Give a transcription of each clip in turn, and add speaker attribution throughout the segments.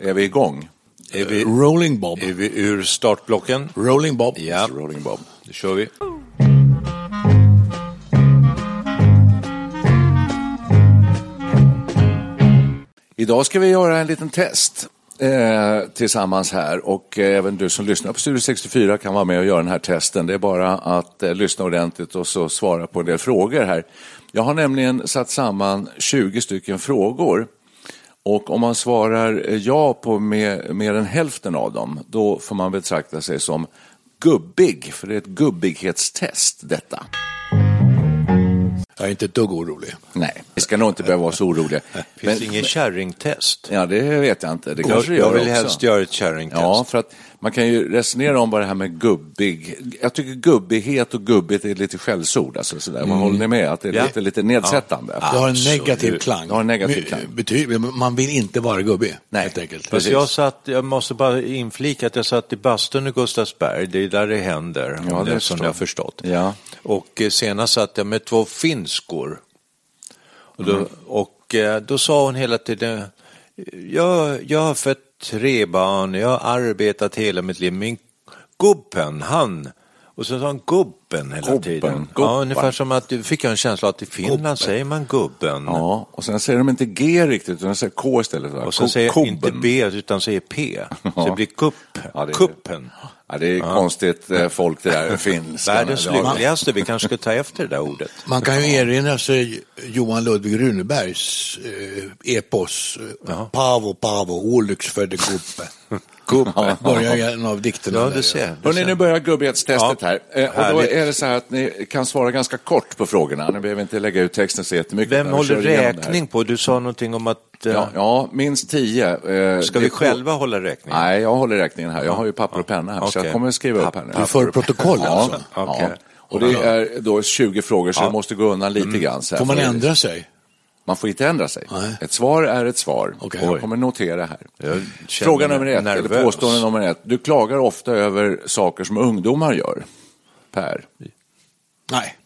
Speaker 1: Är vi igång?
Speaker 2: Är vi,
Speaker 1: Rolling Bob.
Speaker 2: är vi ur startblocken?
Speaker 1: Rolling Bob.
Speaker 2: Ja.
Speaker 1: Rolling Bob.
Speaker 2: Då kör vi.
Speaker 1: Idag ska vi göra en liten test eh, tillsammans här och eh, även du som lyssnar på Studio 64 kan vara med och göra den här testen. Det är bara att eh, lyssna ordentligt och så svara på en del frågor här. Jag har nämligen satt samman 20 stycken frågor och om man svarar eh, ja på mer, mer än hälften av dem då får man betrakta sig som gubbig, för det är ett gubbighetstest detta.
Speaker 2: Jag är inte ett dugg orolig.
Speaker 1: Nej, vi ska nog inte behöva vara så oroliga.
Speaker 2: Finns
Speaker 1: Men-
Speaker 2: det ingen kärringtest?
Speaker 1: Ja, det vet jag inte. Det
Speaker 2: Jag,
Speaker 1: kanske det
Speaker 2: jag
Speaker 1: gör
Speaker 2: vill
Speaker 1: också.
Speaker 2: helst göra ett kärringtest.
Speaker 1: Ja, för att man kan ju resonera om vad det här med gubbig... Jag tycker gubbighet och gubbigt är lite skällsord. Alltså sådär. Man håller ni med att det är
Speaker 2: Mm. Ja.
Speaker 1: lite, lite nedsättande?
Speaker 2: Ja.
Speaker 3: Det har en
Speaker 2: Absolut.
Speaker 3: negativ klang.
Speaker 1: Det har en negativ
Speaker 3: My-
Speaker 1: klang.
Speaker 3: Betyder, man vill inte vara gubbig,
Speaker 1: Nej,
Speaker 3: helt
Speaker 1: precis.
Speaker 3: enkelt. Precis.
Speaker 1: Ja.
Speaker 2: Jag, satt, jag måste bara inflika att jag satt i bastun i Gustavsberg, det är där det händer,
Speaker 1: Ja,
Speaker 2: om
Speaker 1: det
Speaker 2: det, som
Speaker 1: förstår.
Speaker 2: jag har förstått.
Speaker 1: Ja.
Speaker 2: Och eh, senast satt jag med två finskor. Och då,
Speaker 1: Mm.
Speaker 2: och, eh, då sa hon hela tiden, jag, jag har fött tre barn, jag har arbetat hela mitt liv, min gubben, han, och så sa han gubben hela
Speaker 1: Gubben,
Speaker 2: tiden.
Speaker 1: gubben.
Speaker 2: Ja, ungefär som att, du fick jag en känsla att i Finland säger man gubben.
Speaker 1: Ja, och sen säger de inte G riktigt, utan de säger K istället. va?
Speaker 2: Och så
Speaker 1: Ko-
Speaker 2: säger
Speaker 1: kobben.
Speaker 2: inte B utan säger P. Så det blir kupp,
Speaker 1: Ja, det är-
Speaker 2: kuppen.
Speaker 1: Ja, det är konstigt eh, folk det där, finskan.
Speaker 2: Världens
Speaker 1: Ja, det har-
Speaker 2: lyckligaste, vi kanske ska ta efter det där ordet.
Speaker 3: Man kan ju erinra sig Johan Ludvig Runebergs eh, epos eh, Pavo, Pavo, olycksfödde gubbe.
Speaker 1: Gubben.
Speaker 3: Börjar en av dikterna.
Speaker 2: Ja,
Speaker 3: där,
Speaker 2: du ser. Du
Speaker 1: Hörrni, nu
Speaker 2: ser.
Speaker 1: börjar gubbighetstestet
Speaker 2: Ja,
Speaker 1: här. Eh, Och då
Speaker 2: härligt.
Speaker 1: är det så här att ni kan svara ganska kort på frågorna. Ni behöver inte lägga ut texten så jättemycket.
Speaker 2: Vem
Speaker 1: utan vi
Speaker 2: håller
Speaker 1: kör igenom det här.
Speaker 2: räkning på? Du sa någonting om att... eh,
Speaker 1: Ja, ja minst tio. Eh,
Speaker 2: Ska
Speaker 1: det
Speaker 2: vi
Speaker 1: är-
Speaker 2: själva hålla räkning?
Speaker 1: Nej, jag håller räkningen här. Jag har ju papper och penna här, så jag
Speaker 2: Okej.
Speaker 1: kommer att skriva upp här nu.
Speaker 3: Du för protokoll alltså.
Speaker 1: Ja,
Speaker 2: Okej.
Speaker 1: ja. Och det är då 20 frågor, så jag måste gå undan lite
Speaker 2: Mm.
Speaker 1: grann. Så här.
Speaker 3: Får man
Speaker 1: För-
Speaker 3: ändra sig?
Speaker 1: Man får inte ändra sig.
Speaker 3: Nej.
Speaker 1: Ett svar är ett svar.
Speaker 3: Okej.
Speaker 1: Jag
Speaker 3: Oj.
Speaker 1: kommer notera här.
Speaker 2: Jag känner
Speaker 1: Fråga nummer ett,
Speaker 2: nervös.
Speaker 1: eller påstående nummer ett. Du klagar ofta över saker som ungdomar gör. Per,
Speaker 3: Nej.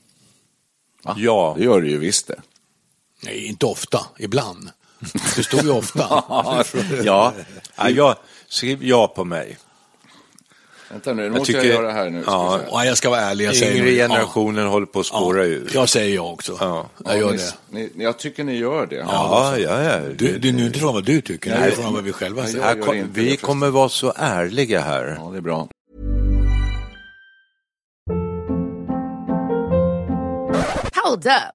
Speaker 2: Ja.
Speaker 1: det gör du ju visst det.
Speaker 3: Nej, inte ofta. Ibland. Det står ju ofta.
Speaker 1: ja.
Speaker 2: Ja, jag, skriv ja på mig.
Speaker 1: Vänta nu, nu
Speaker 2: Jag
Speaker 1: måste jag
Speaker 2: tycker-
Speaker 1: göra här nu. ska
Speaker 2: Ja.
Speaker 1: vi se.
Speaker 3: Ja, jag ska vara ärlig. Jag säger
Speaker 2: Yngre
Speaker 3: nog-
Speaker 2: generationen håller på att
Speaker 3: Ja.
Speaker 2: spåra
Speaker 3: Ja,
Speaker 2: ur.
Speaker 3: Jag säger jag också.
Speaker 2: Ja.
Speaker 3: Jag gör
Speaker 1: ni-
Speaker 3: det.
Speaker 1: Ni, jag tycker ni gör det.
Speaker 2: Ja, ja, ja.
Speaker 3: Du, du, nu är inte frågan vad du tycker,
Speaker 1: Nej.
Speaker 3: det är frågan vad vi själva
Speaker 1: Ja,
Speaker 3: säger.
Speaker 1: jag
Speaker 2: Här
Speaker 1: gör
Speaker 2: kom,
Speaker 1: inte det
Speaker 2: vi
Speaker 1: förresten.
Speaker 2: kommer vara så ärliga här.
Speaker 1: ja, det är bra.
Speaker 4: Hold up.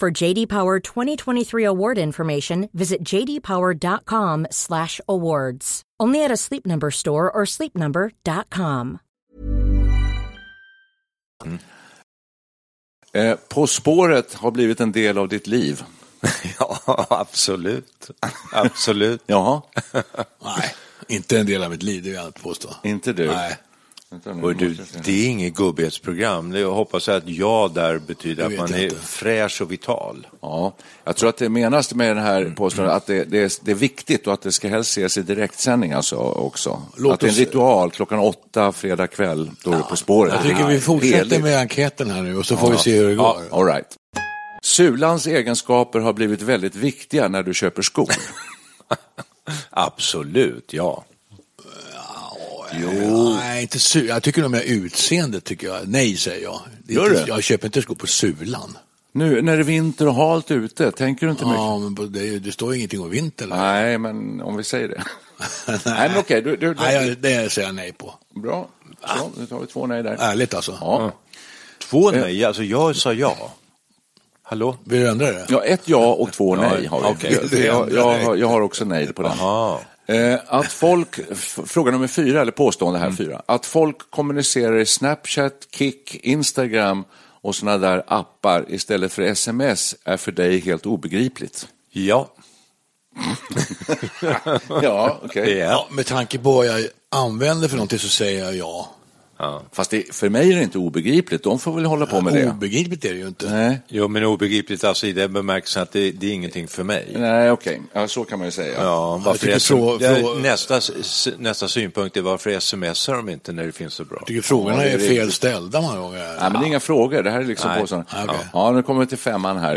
Speaker 5: For JD Power 2023 award information, visit jdpower.com/awards. Only at a Sleep Number store or sleepnumber.com.
Speaker 1: Eh, på spåret har blivit en del av ditt liv.
Speaker 2: Ja, absolut. Absolut.
Speaker 1: Jaha,
Speaker 3: Nej, inte en del av mitt liv, det vill jag inte påstå.
Speaker 1: inte du.
Speaker 3: Nej.
Speaker 1: Vänta nu,
Speaker 2: Och
Speaker 1: nu
Speaker 2: du,
Speaker 1: måste jag se.
Speaker 2: det är inget gubbighetsprogram. Det- Jag hoppas att ja där betyder
Speaker 3: Det
Speaker 2: att
Speaker 3: vet
Speaker 2: man
Speaker 3: jag
Speaker 2: är
Speaker 3: inte.
Speaker 2: fräsch och vital.
Speaker 1: Ja, jag tror att det menas med den
Speaker 3: Mm.
Speaker 1: här påståendet att det, det, är, det är viktigt och att det ska helst ses i direktsändning alltså också.
Speaker 3: Låt
Speaker 1: att det är en
Speaker 3: oss-
Speaker 1: ritual klockan åtta fredag kväll, då är du på spåret.
Speaker 3: Jag
Speaker 1: Det är
Speaker 3: tycker vi fortsätter
Speaker 1: heligt.
Speaker 3: med enkäten här nu och så får vi se hur det
Speaker 1: Ja,
Speaker 3: går.
Speaker 1: all right. Sulans egenskaper har blivit väldigt viktiga när du köper skor.
Speaker 2: Absolut, ja.
Speaker 3: Jo. Nej, inte su- jag tycker nog mer utseendet tycker jag. Nej, säger jag. Det är
Speaker 1: Gör
Speaker 3: inte,
Speaker 1: du?
Speaker 3: jag köper inte skor på Sulan.
Speaker 1: nu när det är vinter och halt ute, tänker du inte mycket?
Speaker 3: Ja, men på- det, det står ingenting om vinter. eller?
Speaker 1: Nej, men om vi säger det. Nej, men okej, du, du, du,
Speaker 3: Nej, jag, det säger jag nej på.
Speaker 1: bra. Så, nu tar vi två nej där.
Speaker 3: Ärligt alltså.
Speaker 1: Ja.
Speaker 2: Två nej, alltså jag sa ja. Hallå?
Speaker 3: Vill du ändra det?
Speaker 1: ja, ett ja och två nej har vi.
Speaker 2: okej.
Speaker 1: För Jag, jag, har- jag har också nej på den.
Speaker 2: Ja.
Speaker 1: Eh, att folk, f- fråga nummer fyra, eller påstående
Speaker 2: Mm.
Speaker 1: här fyra, att folk kommunicerar i Snapchat, Kik, Instagram och sådana där appar istället för sms är för dig helt obegripligt.
Speaker 2: Ja.
Speaker 1: Ja, okej.
Speaker 2: Ja.
Speaker 3: Ja, med tanke på vad jag använder för någonting så säger jag ja.
Speaker 1: Fast det, för mig är det inte obegripligt, de får väl hålla på med
Speaker 2: Oh.
Speaker 1: det.
Speaker 3: Obegripligt är det ju inte.
Speaker 1: Nej,
Speaker 2: Jo, men obegripligt alltså i den bemärkelsen att det, det är ingenting för mig.
Speaker 1: Nej okej, ja, så kan man ju säga.
Speaker 2: Ja, varför
Speaker 3: tycker
Speaker 2: jag
Speaker 3: frå- frå-
Speaker 2: nästa, s- nästa synpunkt är varför smsar de inte när det finns så bra?
Speaker 3: Jag tycker frågorna
Speaker 1: Ja, det är
Speaker 3: är fel
Speaker 1: riktigt.
Speaker 3: ställda många gånger.
Speaker 1: Nej, men det är inga frågor, det här är liksom
Speaker 2: Nej.
Speaker 1: påståenden.
Speaker 3: Ja, okej.
Speaker 1: Ja, nu kommer vi till femman här.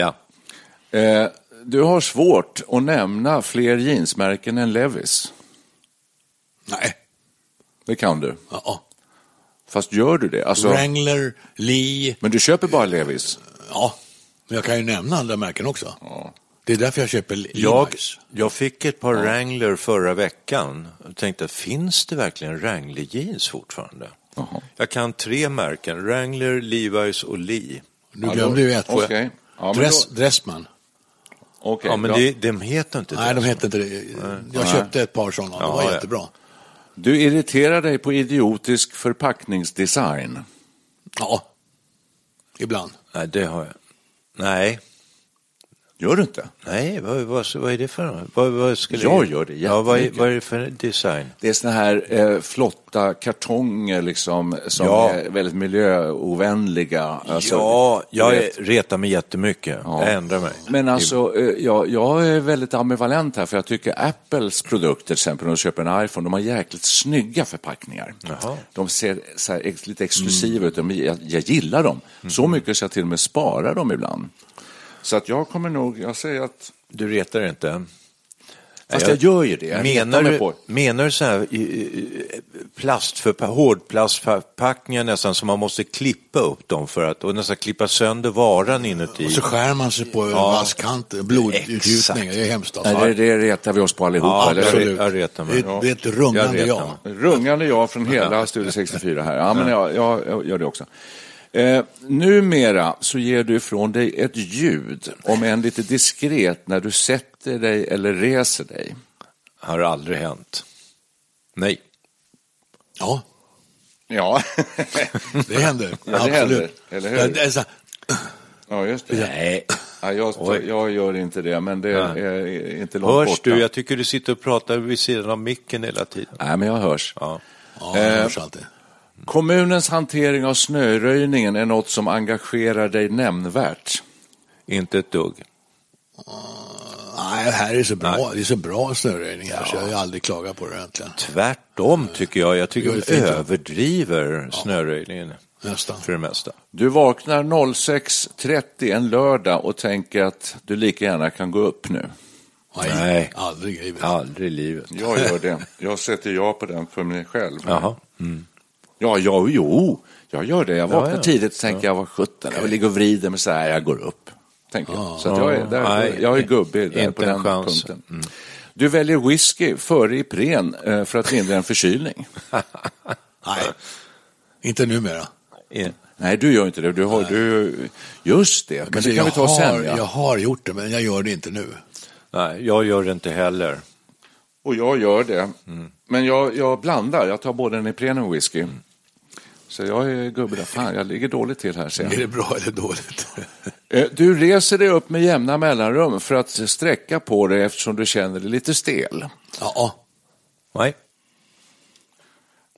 Speaker 2: Ja.
Speaker 1: Eh, du har svårt att nämna fler jeansmärken än Levis.
Speaker 3: Nej.
Speaker 1: Det kan du.
Speaker 3: Ja.
Speaker 1: Fast gör du det? Alltså,
Speaker 3: Wrangler, Lee,
Speaker 1: men du köper bara Levis?
Speaker 3: ja. Men jag kan ju nämna andra märken också.
Speaker 1: Ja.
Speaker 3: Det är därför jag köper Levi's.
Speaker 2: Jag, jag fick ett par Wrangler förra veckan och tänkte, finns det verkligen Wrangler jeans fortfarande?
Speaker 1: Jaha.
Speaker 2: Jag kan tre märken, Wrangler, Levi's och Lee.
Speaker 3: Nu glömde ju ett.
Speaker 1: Okej. Ja, men
Speaker 3: Dress,
Speaker 1: då-
Speaker 3: Dressman.
Speaker 1: Okej,
Speaker 2: Ja, men
Speaker 1: bra.
Speaker 2: det, de heter inte
Speaker 3: Nej,
Speaker 2: det.
Speaker 3: de hette inte det. Jag köpte ett par sådana.
Speaker 2: Ja,
Speaker 3: de var
Speaker 2: ja.
Speaker 3: jättebra.
Speaker 1: Du irriterar dig på idiotisk förpackningsdesign.
Speaker 3: Ja. Ibland.
Speaker 2: Nej, det har jag. Nej,
Speaker 1: Gör du inte?
Speaker 2: nej, vad, vad, vad är det för vad, vad skulle
Speaker 1: Jag gör det
Speaker 2: Ja, vad, är,
Speaker 1: jättemycket.
Speaker 2: vad är det för design?
Speaker 1: Det är såna här eh, flotta kartonger liksom, som
Speaker 2: Ja.
Speaker 1: är väldigt miljöovänliga. Alltså,
Speaker 2: ja, jag
Speaker 1: du
Speaker 2: är,
Speaker 1: vet.
Speaker 2: retar mig jättemycket. Jag ändrar mig.
Speaker 1: Men alltså, eh, jag, jag är väldigt ambivalent här, för jag tycker Apples produkter, till exempel när du köper en iPhone, de har jäkligt snygga förpackningar.
Speaker 2: Jaha.
Speaker 1: De ser så här, ex- lite exklusiva ut, De- jag, jag gillar dem.
Speaker 2: Mm.
Speaker 1: Så mycket så jag till och med sparar dem ibland. Så att jag kommer nog, jag säger att,
Speaker 2: Du retar inte.
Speaker 1: fast jag,
Speaker 2: jag-
Speaker 1: gör ju det. Jag
Speaker 2: Menar
Speaker 1: retar mig
Speaker 2: du,
Speaker 1: på-
Speaker 2: menar du så här i- i- plastförpa- hårdplastförpackningar nästan som man måste klippa upp dem för att och nästan klippa sönder varan inuti?
Speaker 3: Och så skär man sig på ja. vasskanten, blodutgjutning.
Speaker 2: Exakt.
Speaker 3: Det är hemskt alltså.
Speaker 1: Nej, det, det retar vi oss på allihopa.
Speaker 2: Ja,
Speaker 1: eller?
Speaker 2: jag
Speaker 3: Absolut.
Speaker 2: re- jag retar mig.
Speaker 3: Det är- Det är ett rungande
Speaker 2: Jag
Speaker 3: jag.
Speaker 2: retar mig.
Speaker 1: Rungande ja från hela Studio 64 här. Ja, men jag, jag, jag gör det också. Eh, numera så ger du ifrån dig ett ljud, om än lite diskret, när du sätter dig eller reser dig.
Speaker 2: Har aldrig hänt. Nej.
Speaker 3: Ja,
Speaker 1: Ja,
Speaker 3: det händer.
Speaker 1: det händer.
Speaker 3: Absolut.
Speaker 1: Eller hur?
Speaker 3: Ja, det är så här,
Speaker 1: ja just det.
Speaker 2: Nej.
Speaker 1: Ja, jag,
Speaker 2: Oj.
Speaker 1: jag gör inte det, men det är, eh, inte långt
Speaker 2: Hörs
Speaker 1: borta.
Speaker 2: du? Jag tycker du sitter och pratar vid sidan av micken hela tiden.
Speaker 1: Nej, men jag hörs.
Speaker 2: Ja.
Speaker 3: Ja, det
Speaker 1: Eh.
Speaker 3: hörs alltid.
Speaker 1: Kommunens hantering av snöröjningen är något som engagerar dig nämnvärt.
Speaker 2: Inte ett dugg.
Speaker 3: Ah, Nej, det här är så bra. Det är så bra snöröjning här så jag har ju aldrig klagat på det egentligen.
Speaker 2: Tvärtom tycker jag. Jag tycker
Speaker 3: Det är
Speaker 2: vi
Speaker 3: fint, ja.
Speaker 2: överdriver snöröjningen
Speaker 3: Nästan.
Speaker 2: för det mesta.
Speaker 1: Du vaknar 06.30 en lördag och tänker att du lika gärna kan gå upp nu.
Speaker 3: Nej,
Speaker 2: Nej.
Speaker 3: aldrig i livet.
Speaker 2: Aldrig i livet.
Speaker 1: Jag gör det. Jag sätter ja på den för mig själv.
Speaker 2: Jaha.
Speaker 1: Ja, ja jo, jag gör det. Jag vaknar
Speaker 2: Ja, ja.
Speaker 1: tidigt och tänker jag var 17. Jag ligger och vrider mig så här, jag går upp. Tänker jag. Så att jag, är där,
Speaker 2: Nej,
Speaker 1: jag är gubbig där
Speaker 2: inte
Speaker 1: på
Speaker 2: en
Speaker 1: den
Speaker 2: chans. Mm.
Speaker 1: punkten. Du väljer whisky före Ipren eh, för att lindra en förkylning.
Speaker 3: Nej, inte numera.
Speaker 2: Ja.
Speaker 1: Nej, du gör inte det. Du har, du, just det, men det kan vi
Speaker 3: jag
Speaker 1: ta
Speaker 3: har,
Speaker 1: sen.
Speaker 3: Jag
Speaker 1: Ja.
Speaker 3: har gjort det, men jag gör det inte nu.
Speaker 2: Nej, jag gör det inte heller.
Speaker 1: Och jag gör det.
Speaker 2: Mm.
Speaker 1: Men jag, jag blandar. Jag tar både en Ipren och en whisky. Så jag är gubbe där. Fan, jag ligger dåligt till här. Ser jag.
Speaker 3: Är det bra eller dåligt?
Speaker 1: Eh, Du reser dig upp med jämna mellanrum för att sträcka på dig eftersom du känner dig lite stel.
Speaker 3: ja,
Speaker 2: Nej.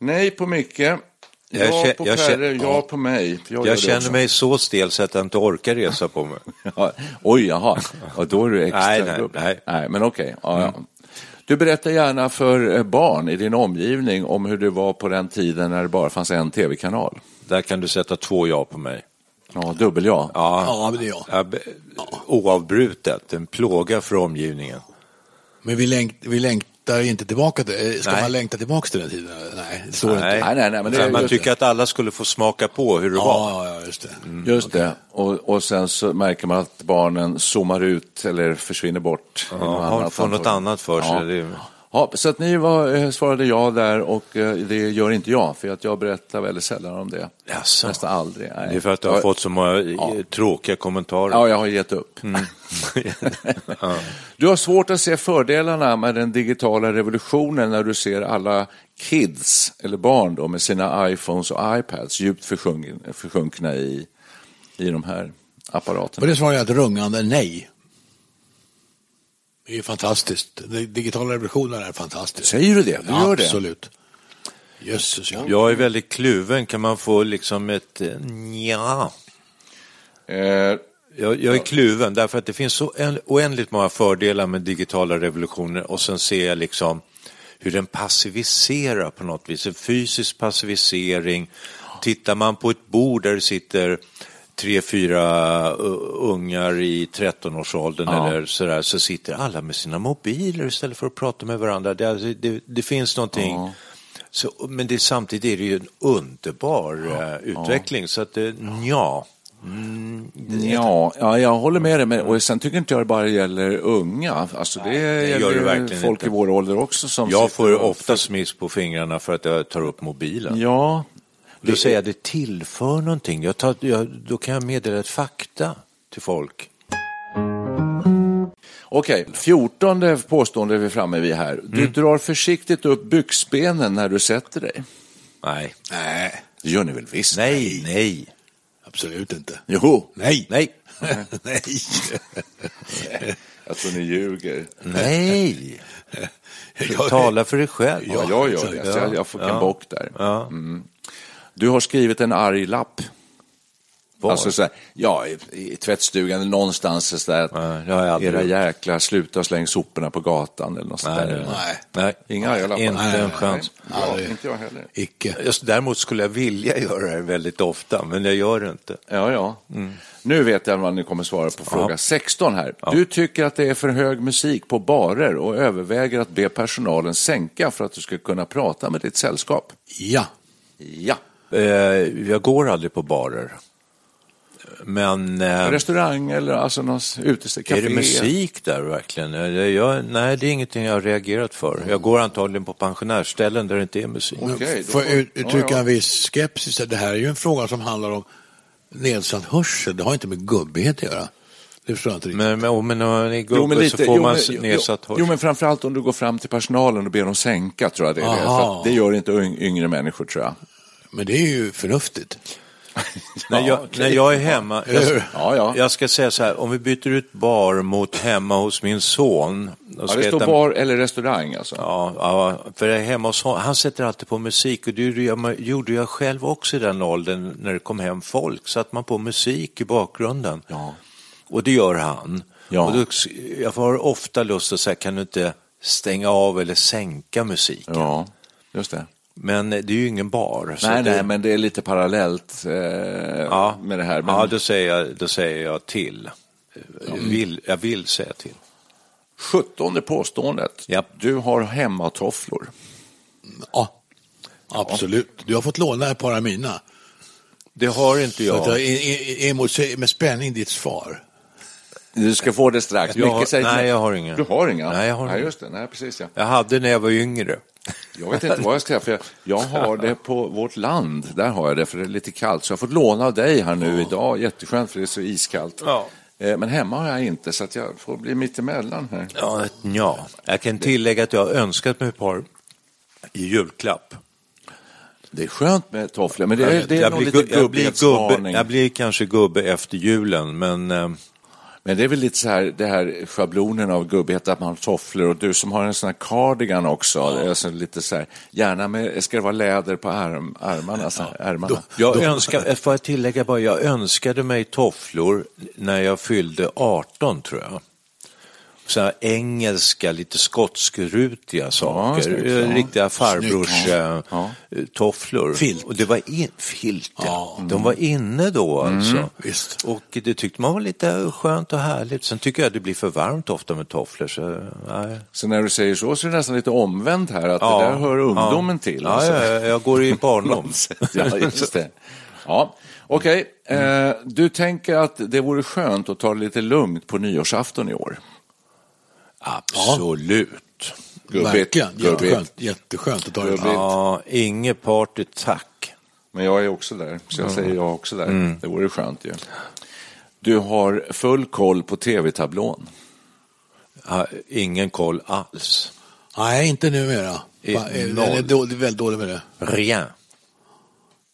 Speaker 1: Nej på Micke, ja
Speaker 2: Jag kä-
Speaker 1: på
Speaker 2: jag kä-
Speaker 1: Perre, ja på mig. gör
Speaker 2: Jag
Speaker 1: det
Speaker 2: känner
Speaker 1: också.
Speaker 2: mig så stel så att jag inte orkar resa på mig.
Speaker 1: Ja, Oj, jaha. Ja, då är du extra
Speaker 2: Nej, nej,
Speaker 1: gubb.
Speaker 2: nej. Mm.
Speaker 1: men okej. Ja, ja. Du berättar gärna för eh, barn i din omgivning om hur det var på den tiden när det bara fanns en tv-kanal.
Speaker 2: Där kan du sätta två ja på mig.
Speaker 1: Ja, dubbel ja.
Speaker 3: ja, men det är jag.
Speaker 2: Ja, be- Oavbrutet, en plåga för omgivningen.
Speaker 3: Men vi, längt, vi längtar ju inte tillbaka till, eh, ska
Speaker 2: Nej.
Speaker 3: man längta tillbaka till den tiden? Nej, det står inte.
Speaker 2: Nej,
Speaker 1: Nej, nej, nej, men det är
Speaker 2: man
Speaker 1: just
Speaker 2: tycker att alla skulle få smaka på hur det var.
Speaker 3: Ja, ja, ja, just det.
Speaker 1: Just det. Och, och sen så märker man att barnen zoomar ut eller försvinner bort. i
Speaker 2: Ja, har- får
Speaker 1: Han
Speaker 2: något annat för sig. Det är-
Speaker 1: Ja, så att ni var, eh, svarade ja där och eh, det gör inte jag för att jag berättar väldigt sällan om det.
Speaker 2: Jaså.
Speaker 1: Nästan aldrig. nej.
Speaker 2: Det är för att du har
Speaker 1: Jag-
Speaker 2: fått så många Mm. eh,
Speaker 1: Ja.
Speaker 2: tråkiga kommentarer.
Speaker 1: Ja, jag har gett upp. Du har svårt att se fördelarna med den digitala revolutionen när du ser alla kids, eller barn då, med sina iPhones och iPads djupt försjunk- försjunkna i, i de här
Speaker 3: På
Speaker 1: apparaterna.
Speaker 3: det svarar jag ett rungande nej. Det är ju fantastiskt. Den digitala revolutionen är fantastisk.
Speaker 1: Säger du det? Du gör det?
Speaker 3: Absolut. Jösses ja.
Speaker 2: Jag är väldigt kluven. Kan man få liksom ett eh, nja?
Speaker 1: Eh,
Speaker 2: Jag, jag är kluven därför att det finns så en, oändligt många fördelar med digitala revolutioner och sen ser jag liksom hur den passiviserar på något vis, en fysisk passivisering. Tittar man på ett bord där det sitter tre, fyra uh, ungar i 13-årsåldern eller sådär så sitter alla med sina mobiler istället för att prata med varandra. Det, alltså, det, det finns någonting så, men det, samtidigt är det ju en underbar eh, utveckling så att uh, Mm, ja.
Speaker 1: Mm. Ja, ja, jag håller med dig. Men, och sen tycker inte jag det bara gäller unga. Alltså, det,
Speaker 2: det gör
Speaker 1: gäller
Speaker 2: det
Speaker 1: ju
Speaker 2: verkligen
Speaker 1: folk
Speaker 2: inte.
Speaker 1: i vår ålder också. Som
Speaker 2: Jag
Speaker 1: sitter
Speaker 2: får
Speaker 1: och-
Speaker 2: ofta smisk på fingrarna för att jag tar upp mobilen.
Speaker 1: Ja,
Speaker 2: Då säger jag det tillför någonting. Jag tar, jag, då kan jag meddela ett fakta till folk.
Speaker 1: Okej, fjortonde påstående är vi framme vid här. Du drar försiktigt upp byxbenen när du sätter dig.
Speaker 2: Nej,
Speaker 3: Nej,
Speaker 1: Det gör ni väl visst?
Speaker 2: nej, nej,
Speaker 3: absolut inte.
Speaker 1: Jo,
Speaker 3: Nej.
Speaker 2: nej,
Speaker 3: Nej.
Speaker 1: jag tror ni ljuger.
Speaker 2: nej.
Speaker 3: Jag-
Speaker 2: Tala för dig själv.
Speaker 1: Ja, jag gör det, så jag, jag får en bock där. Mm. Du har skrivit en arg lapp.
Speaker 2: Var?
Speaker 1: Alltså så här, ja, i, i tvättstugan eller någonstans så där. att
Speaker 2: Nej, det har jag aldrig
Speaker 1: Era
Speaker 2: gjort.
Speaker 1: jäklar, sluta släng soporna på gatan eller något sånt
Speaker 2: Nej,
Speaker 1: där.
Speaker 2: nej,
Speaker 3: Nej.
Speaker 2: nej.
Speaker 1: Inga arga lappar.
Speaker 2: Inte
Speaker 1: Nej,
Speaker 2: en chans.
Speaker 1: nej. Ja, inte jag heller.
Speaker 3: Icke.
Speaker 2: Just Däremot skulle jag vilja göra det väldigt ofta, men jag gör det inte.
Speaker 1: Ja, ja.
Speaker 2: Mm.
Speaker 1: Nu vet jag vad ni kommer svara på fråga 16 här. Du tycker att det är för hög musik på barer och överväger att be personalen sänka för att du ska kunna prata med ditt sällskap.
Speaker 3: Ja.
Speaker 1: Ja.
Speaker 2: Eh, Jag går aldrig på barer. Men... eh,
Speaker 1: Restaurang eller alltså någon uteställe?
Speaker 2: Är det musik där verkligen? Jag, jag, nej, det är ingenting jag har reagerat för. Jag går antagligen på pensionärsställen där det inte är musik.
Speaker 1: Okej, då
Speaker 3: Får
Speaker 1: får-
Speaker 3: jag ut- uttrycka
Speaker 1: ja, ja.
Speaker 3: en viss skepsis. Det här är ju en fråga som handlar om nedsatt hörsel. Det har inte med gubbighet att göra. Det förstår jag inte riktigt.
Speaker 2: Men, oh, men, eh, om man är gubbe
Speaker 1: Jo, men lite.
Speaker 2: så får
Speaker 1: jo,
Speaker 2: man
Speaker 1: men,
Speaker 2: nedsatt
Speaker 1: jo,
Speaker 2: hörsel.
Speaker 1: jo, men framförallt om du går fram till personalen och ber dem sänka, tror jag det är det.
Speaker 3: Aha.
Speaker 1: För att det gör inte yng- yngre människor, tror jag.
Speaker 3: Men det är ju förnuftigt.
Speaker 2: när, jag, när jag är hemma, jag,
Speaker 3: Eller hur?
Speaker 1: Ja, ja.
Speaker 2: jag ska säga så här, om vi byter ut bar mot hemma hos min son. och
Speaker 1: ja
Speaker 2: ska
Speaker 1: det står
Speaker 2: äta-
Speaker 1: bar eller restaurang, alltså.
Speaker 2: Ja, ja, för jag är hemma hos honom, han sätter alltid på musik och det gjorde jag, gjorde jag själv också i den åldern när det kom hem folk, satte man på musik i bakgrunden. Och det gör han.
Speaker 1: Ja.
Speaker 2: Och då, jag har ofta lust att säga, kan du inte stänga av eller sänka musiken?
Speaker 1: ja just det.
Speaker 2: Men det är ju ingen bar. så
Speaker 1: Nej,
Speaker 2: det,
Speaker 1: nej, men det är lite parallellt eh,
Speaker 2: ja.
Speaker 1: med det här. Men,
Speaker 2: Ja, då säger jag, då säger jag till. Jag, vill, jag vill säga till.
Speaker 1: Sjuttonde påståendet.
Speaker 2: Ja.
Speaker 1: Du har hemmatofflor.
Speaker 3: Ja, absolut. Du har fått låna ett par av mina.
Speaker 2: Det har inte
Speaker 3: Så att jag
Speaker 2: jag.
Speaker 3: e- e- emotser med spänning ditt svar.
Speaker 1: Du ska få det strax.
Speaker 2: Jag
Speaker 1: Micke
Speaker 2: har-
Speaker 1: säger till
Speaker 2: nej,
Speaker 1: mig-
Speaker 2: jag har inga.
Speaker 1: Du har inga?
Speaker 2: Nej, jag har
Speaker 1: nej,
Speaker 2: inga.
Speaker 1: just det. Nej, precis ja.
Speaker 2: Jag hade när jag var yngre.
Speaker 1: Jag vet inte vad jag ska säga, för jag, jag har det på vårt land. Där har jag det, för det är lite kallt. Så jag har fått låna av dig här nu idag. Jätteskönt, för det är så iskallt.
Speaker 2: Ja.
Speaker 1: Eh, Men hemma har jag inte, så att jag får bli mittemellan här.
Speaker 2: Ja, ja. Jag kan tillägga att jag har önskat mig ett par i julklapp.
Speaker 1: Det är skönt med tofflor, men det är, det är
Speaker 2: jag,
Speaker 1: nog
Speaker 2: blir,
Speaker 1: lite
Speaker 2: gu- jag, blir gubbe,
Speaker 1: gubbighetsvarning.
Speaker 2: jag blir kanske gubbe efter julen, men eh,
Speaker 1: Men det är väl lite så här, det här schablonen av gubbighet, att man har tofflor och du som har en sån här cardigan också, alltså lite så här, gärna med, ska det vara läder på arm, armarna? Så här, ärmarna.
Speaker 2: jag önskar, eh, får jag tillägga bara, jag önskade mig tofflor när jag fyllde 18 tror jag. Så här engelska, lite skotsk-rutiga saker.
Speaker 1: snyggt, ja.
Speaker 2: Eh, Riktiga farbrors eh,
Speaker 1: Ja.
Speaker 2: tofflor.
Speaker 3: Filt.
Speaker 2: Och det var in, filt, ja. De var inne då
Speaker 1: Mm.
Speaker 2: alltså.
Speaker 3: visst.
Speaker 2: Och det tyckte man var lite skönt och härligt. Sen tycker jag det blir för varmt ofta med tofflor. Så, eh, nej.
Speaker 1: Så när du säger så, så är det nästan lite omvänt här, att det där hör ungdomen till.
Speaker 2: Ja,
Speaker 1: alltså.
Speaker 2: ja, ja, jag går i barndom.
Speaker 1: ja, just det. Ja, okej. Eh, du tänker att det vore skönt att ta det lite lugnt på nyårsafton i år?
Speaker 2: Absolut.
Speaker 1: Gubbigt.
Speaker 3: Verkligen,
Speaker 1: Gubbigt.
Speaker 3: jätteskönt, jätteskönt att ta det.
Speaker 1: Gubbigt.
Speaker 2: Ja, inget party, tack.
Speaker 1: Men jag är också där, så jag säger jag också där. Det vore skönt ju. Du har full koll på tv-tablån.
Speaker 2: Ja, ingen koll alls.
Speaker 3: Nej, inte numera.
Speaker 2: I-
Speaker 3: Fan, är-
Speaker 2: noll.
Speaker 3: Den är dålig, väldigt dålig med det.
Speaker 2: Rien.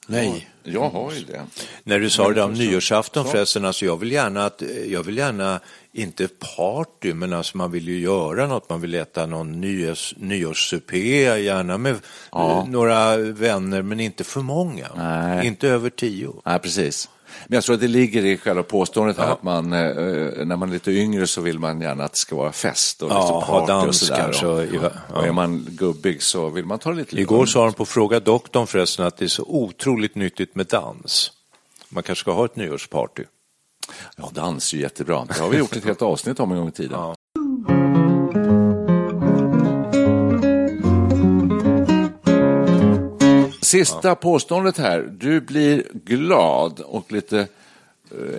Speaker 3: Nej.
Speaker 1: Jag har ju det.
Speaker 2: När du sa det där om
Speaker 1: så-
Speaker 2: nyårsafton
Speaker 1: så.
Speaker 2: förresten, alltså jag vill gärna att, jag vill gärna, inte party, men alltså man vill ju göra något, man vill äta någon nyårs, nyårssupé, gärna med eh, några vänner, men inte för många.
Speaker 1: Nej.
Speaker 2: Inte över tio.
Speaker 1: Nej, precis. Men jag tror att det ligger i själva påståendet här att man, eh, när man är lite yngre så vill man gärna att det ska vara fest och
Speaker 2: Ja,
Speaker 1: lite
Speaker 2: ha
Speaker 1: party och
Speaker 2: dans
Speaker 1: sådär.
Speaker 2: kanske,
Speaker 1: Och,
Speaker 2: i- ja.
Speaker 1: och är man gubbig så vill man ta det lite
Speaker 2: Igår sa de på Fråga doktorn förresten att det är så otroligt nyttigt med dans. Man kanske ska ha ett nyårsparty.
Speaker 1: Ja, dans är ju jättebra. Det har vi gjort ett helt avsnitt om en gång i tiden.
Speaker 2: Ja.
Speaker 1: Sista påståendet här. Du blir glad och lite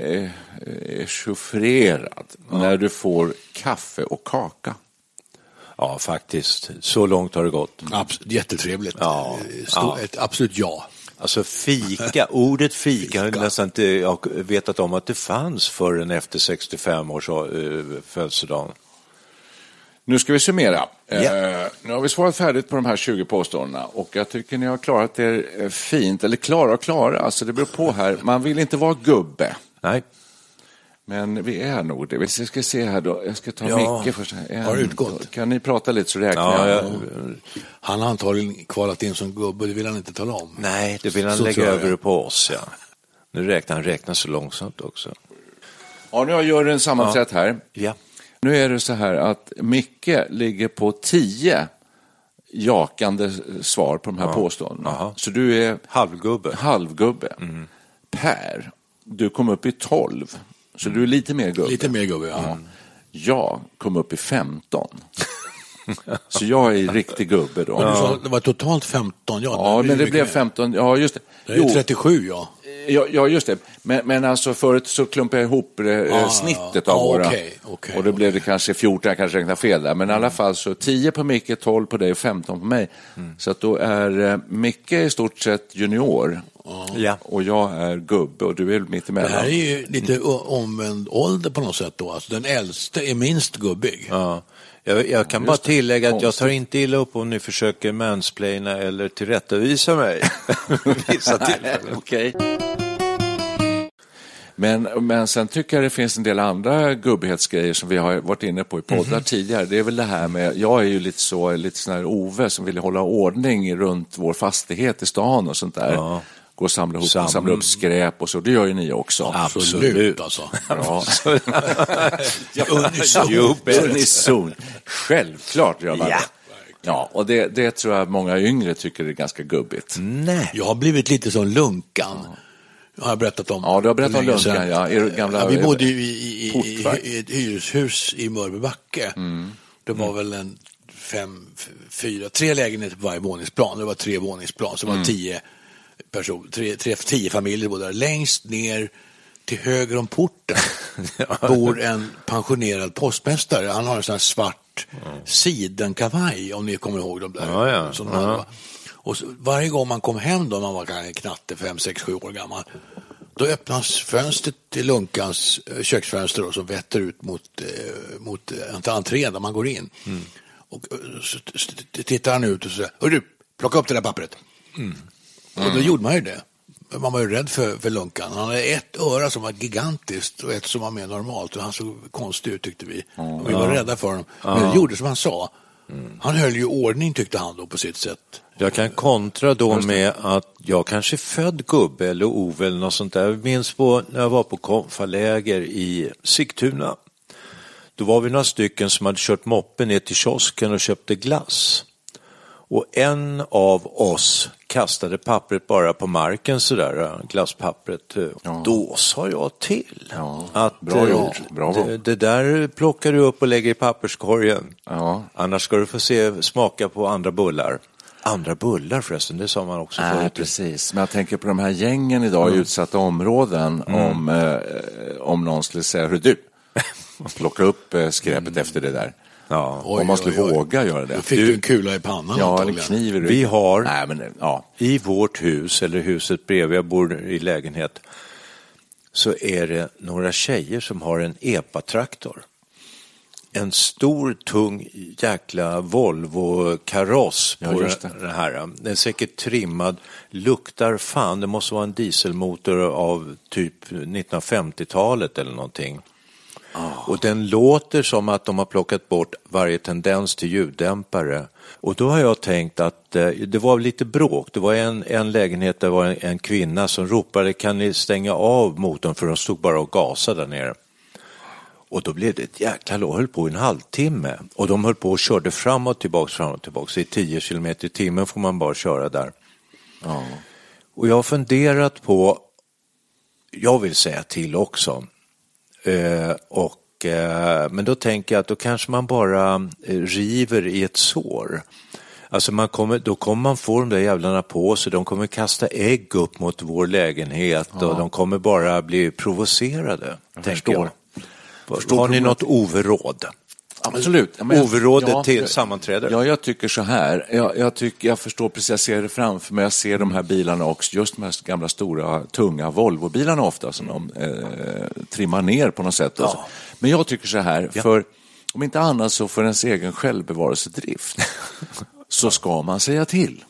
Speaker 1: eh, eh, chauffrerad när du får kaffe och kaka.
Speaker 2: Ja, faktiskt. Så långt har det gått.
Speaker 3: Abs- jättetrevligt.
Speaker 2: Ja.
Speaker 3: Eh, Stor, Ett absolut ja.
Speaker 2: Alltså fika, ordet fika har jag nästan inte jag vetat om att det fanns förrän efter 65 års eh, födelsedag.
Speaker 1: Nu ska vi summera.
Speaker 2: Ja.
Speaker 1: Eh, nu har vi svarat färdigt på de här 20 påståendena och jag tycker ni har klarat er eh, fint, eller klara och klara, alltså det beror på här. Man vill inte vara gubbe,
Speaker 2: Nej,
Speaker 1: men vi är nog det. Vi ska ska se här då, jag ska ta
Speaker 2: Ja.
Speaker 1: Micke först. här. En,
Speaker 3: Har utgått?
Speaker 1: då. Kan ni prata lite så räknar
Speaker 2: ja,
Speaker 1: jag.
Speaker 2: jag,
Speaker 3: Han har antagligen kvalat in som gubbe, det vill han inte tala om.
Speaker 2: nej, det vill han
Speaker 3: Så
Speaker 2: lägga
Speaker 3: tror jag.
Speaker 2: över det på oss. Ja. Nu räknar han räknar så långsamt också.
Speaker 1: Ja, nu har juryn sammanträtt här.
Speaker 2: Ja.
Speaker 1: Nu är det så här att Micke ligger på 10 jakande svar på de här påståendena.
Speaker 2: Jaha.
Speaker 1: Så du är
Speaker 2: Halvgubbe.
Speaker 1: halvgubbe. Per, du kom upp i 12, så du är lite mer gubbe.
Speaker 3: Lite mer gubbe, ja.
Speaker 1: Mm. Jag kom upp i 15. så jag är riktig gubbe då.
Speaker 3: Men du
Speaker 1: Ja,
Speaker 3: sa att det var totalt 15 ja.
Speaker 1: men det
Speaker 3: ju
Speaker 1: blev
Speaker 3: mycket mer.
Speaker 1: 15. Ja, just det.
Speaker 3: Det är ju 37 ja.
Speaker 1: Ja, ja just det. Men, men alltså förut så klumpade jag ihop eh,
Speaker 3: Ah, ja.
Speaker 1: snittet
Speaker 3: Ja,
Speaker 1: av våra.
Speaker 3: okej, okej,
Speaker 1: och då blev det
Speaker 3: okej. Mm.
Speaker 1: kanske 14, jag kanske räknade fel där. Men i alla fall så 10 på Micke, 12 på dig och 15 på mig.
Speaker 3: Mm.
Speaker 1: Så att då är eh, Micke i stort sett junior
Speaker 2: Ja.
Speaker 1: och jag är gubbe och du är mitt
Speaker 3: Ah. Det här är
Speaker 1: emellan.
Speaker 3: ju lite o- omvänd ålder på något sätt då. Alltså, den äldste är minst gubbig.
Speaker 2: Ja. Jag, jag kan bara tillägga att jag
Speaker 1: Konstigt.
Speaker 2: tar inte illa upp om ni försöker mansplaina eller tillrättavisa mig. Vissa tillfällen.
Speaker 1: Okej. Men, men sen tycker jag det finns en del andra gubbighetsgrejer som vi har varit inne på i poddar tidigare. Det är väl det här med, jag är ju lite så, lite sån här Ove som vill hålla ordning runt vår fastighet i stan och sånt där. Gå och samla, ihop,
Speaker 2: Sam-
Speaker 1: samla upp skräp och så, det gör ju ni också.
Speaker 3: Absolut alltså.
Speaker 1: Ja.
Speaker 3: Unison.
Speaker 1: Unison. Självklart gör man
Speaker 2: Ja.
Speaker 1: det. Ja, och det, det tror jag många yngre tycker är ganska gubbigt.
Speaker 2: Nej.
Speaker 3: Jag har blivit lite som Lunkan. Har jag berättat om.
Speaker 1: Ja, du har berättat om
Speaker 3: för länge sedan.
Speaker 1: Lunkan, ja. Er gamla-
Speaker 3: ja, vi bodde ju i, i, i,
Speaker 1: Portvakt. Mm.
Speaker 3: i ett hyreshus i Mörbybacke. Det var väl en fem, f- fyra, tre lägenheter på varje våningsplan. Det var tre våningsplan, så det
Speaker 1: Mm.
Speaker 3: var tio personer, tre, tre, tio familjer bodde där. Längst ner till höger om porten bor en pensionerad postmästare. Han har en sån här svart sidenkavaj, om ni kommer ihåg de där.
Speaker 2: Ja, ja.
Speaker 3: Som han-
Speaker 2: Ja.
Speaker 3: och så, varje gång man kom hem då, man var kanske knatte, fem sex sju år gammal, då öppnas fönstret till Lunkans eh, köksfönster då, som vetter ut mot, eh, mot eh, entrén där man går in.
Speaker 2: Mm.
Speaker 3: Och eh, så t- så t- tittar han ut och säger, hörru, plocka upp det där pappret.
Speaker 2: Mm.
Speaker 3: Och då gjorde man ju det. Men Man var ju rädd för, för Lunkan. Han hade ett öra som var gigantiskt och ett som var mer normalt. Och han såg konstig ut tyckte vi. Och vi var rädda för honom. Men vi gjorde som han sa. Han höll ju ordning tyckte han då på sitt sätt.
Speaker 2: Jag kan kontra då med att jag kanske är född gubbe eller Ove eller något sånt där. Jag minns på när jag var på konfaläger i Sigtuna. Då var vi några stycken som hade kört moppen ner till kiosken och köpte glass. Och en av oss kastade pappret bara på marken sådär, glasspappret. Då sa jag till.
Speaker 1: Ja,
Speaker 2: Att,
Speaker 1: bra
Speaker 2: eh,
Speaker 1: gjort, bravo.
Speaker 2: Det, det där plockar du upp och lägger i papperskorgen.
Speaker 1: Ja.
Speaker 2: Annars ska du få se, smaka på andra bullar. Andra bullar förresten, det sa man också
Speaker 1: Nej,
Speaker 2: förut.
Speaker 1: precis. Men jag tänker på de här gängen idag
Speaker 3: Mm.
Speaker 1: i utsatta områden. Om, eh, om någon skulle säga, hur du, plocka upp eh, skräpet efter det där.
Speaker 2: Ja,
Speaker 1: om man skulle
Speaker 3: Mm. oj, oj.
Speaker 1: våga göra det.
Speaker 3: Då fick du en kula i pannan
Speaker 1: Ja, eller
Speaker 3: antagligen.
Speaker 1: kniv i ryggen.
Speaker 2: Vi har
Speaker 1: Nej, men, ja.
Speaker 2: i vårt hus, eller huset bredvid, jag bor i lägenhet, så är det några tjejer som har en epatraktor. En stor, tung jäkla Volvo-kaross på
Speaker 1: Ja, just det.
Speaker 2: den här. Den är säkert trimmad, luktar fan, det måste vara en dieselmotor av typ 1950-talet eller någonting. Och den låter som att de har plockat bort varje tendens till ljuddämpare. Och då har jag tänkt att eh, det var lite bråk. Det var en, en lägenhet där var en, en kvinna som ropade kan ni stänga av motorn för de stod bara och gasade där nere. Och då blev det ett jäkla låg, höll på i en halvtimme. Och de höll på och körde fram och tillbaks, fram och tillbaks. I 10 kilometer i timmen får man bara köra där. Och jag har funderat på, jag vill säga till också, Eh, och, eh, men då tänker jag att då kanske man bara eh, river i ett sår. Alltså man kommer, då kommer man få de där jävlarna på sig, de kommer kasta ägg upp mot vår lägenhet och de kommer bara bli provocerade. Jag tänker
Speaker 1: förstår.
Speaker 2: Jag. Har ni något overråd?
Speaker 1: Absolut. Ja, jag-
Speaker 2: Overrådet till sammanträde.
Speaker 1: Ja, jag tycker så här. Jag, jag, tycker, jag förstår precis, jag ser det framför mig. Jag ser de här bilarna också, just de här gamla stora tunga Volvo-bilarna ofta som de eh, trimmar ner på något sätt. och så. Men jag tycker så här, för om inte annat så för ens egen självbevarelsedrift så ska man säga till.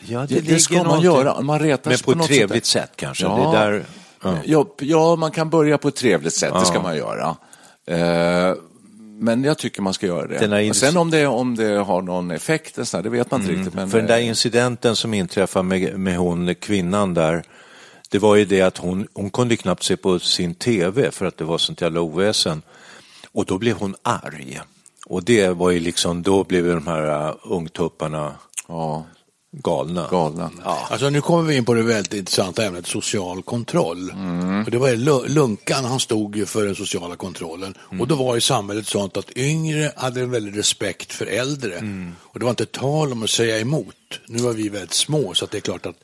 Speaker 2: Ja,
Speaker 1: Det, det ska man göra. Man retas
Speaker 2: Men på ett
Speaker 1: något
Speaker 2: trevligt
Speaker 1: där.
Speaker 2: sätt kanske. Det där, ja.
Speaker 1: Ja, ja, man kan börja på ett trevligt sätt, det ska man göra. Eh, men jag tycker man ska göra det.
Speaker 2: Den här Mm.
Speaker 1: Och Sen om det, om det har någon effekt, och sådär, det vet man inte riktigt. Men,
Speaker 2: För den där
Speaker 1: eh,
Speaker 2: incidenten som inträffade med, med hon kvinnan där, det var ju det att hon, hon kunde knappt se på sin TV för att det var sånt jävla oväsen. Och då blev hon arg. Och det var ju liksom, då blev ju de här äh, ungtupparna
Speaker 1: ja,
Speaker 2: galna.
Speaker 1: galna.
Speaker 3: Alltså nu kommer vi in på det väldigt intressanta ämnet social kontroll. Och det var ju Lu- Lunkan, han stod ju för den sociala kontrollen. Och då var ju samhället sånt att yngre hade en väldig respekt för äldre. Och det var inte tal om att säga emot. Nu var vi väldigt små så att det är klart att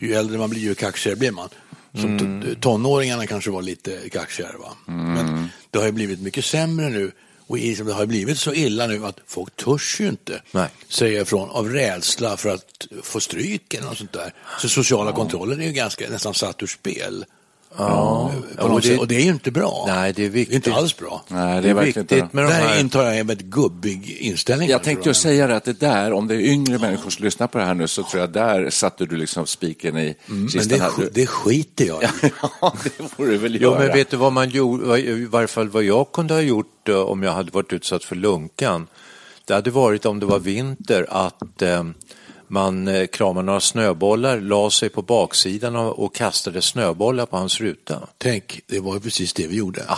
Speaker 3: ju äldre man blir ju kaxigare blir man. Som to- tonåringarna kanske var lite kaxigare va. Men det har ju blivit mycket sämre nu. Och i- det har ju blivit så illa nu att folk törs ju inte
Speaker 2: Nej.
Speaker 3: säga ifrån av rädsla för att få stryk eller något sånt där. Så sociala kontrollen är ju ganska, nästan satt ur spel. Ja.
Speaker 2: Ja,
Speaker 3: På
Speaker 2: och
Speaker 3: något
Speaker 2: det-
Speaker 3: sätt. Och det är ju inte bra.
Speaker 2: Nej, det är viktigt.
Speaker 3: Inte alls bra.
Speaker 1: Nej,
Speaker 2: Det
Speaker 1: det
Speaker 2: är
Speaker 1: är verkligen inte
Speaker 2: viktigt
Speaker 1: det.
Speaker 2: med de
Speaker 3: Där
Speaker 2: här...
Speaker 3: intar jag en väldigt gubbig inställning.
Speaker 1: Jag
Speaker 3: kanske,
Speaker 1: tänkte
Speaker 3: va?
Speaker 2: Mm.
Speaker 1: ju säga det, att det där, om det är yngre människor som lyssnar på det här nu, så tror jag där satte du liksom spiken
Speaker 2: Mm,
Speaker 1: i
Speaker 3: Men
Speaker 1: kistan.
Speaker 3: det,
Speaker 1: här.
Speaker 3: sk- det skiter jag i.
Speaker 1: ja, det får du väl
Speaker 2: Jo,
Speaker 1: göra.
Speaker 2: men vet du vad man gjorde, vad- i varje fall vad jag kunde ha gjort eh, om jag hade varit utsatt för lunkan? Det hade varit om det var vinter att eh, man eh, kramade några snöbollar, la sig på baksidan och, och kastade snöbollar på hans ruta.
Speaker 3: Tänk, det var ju precis det vi gjorde.
Speaker 2: Ah,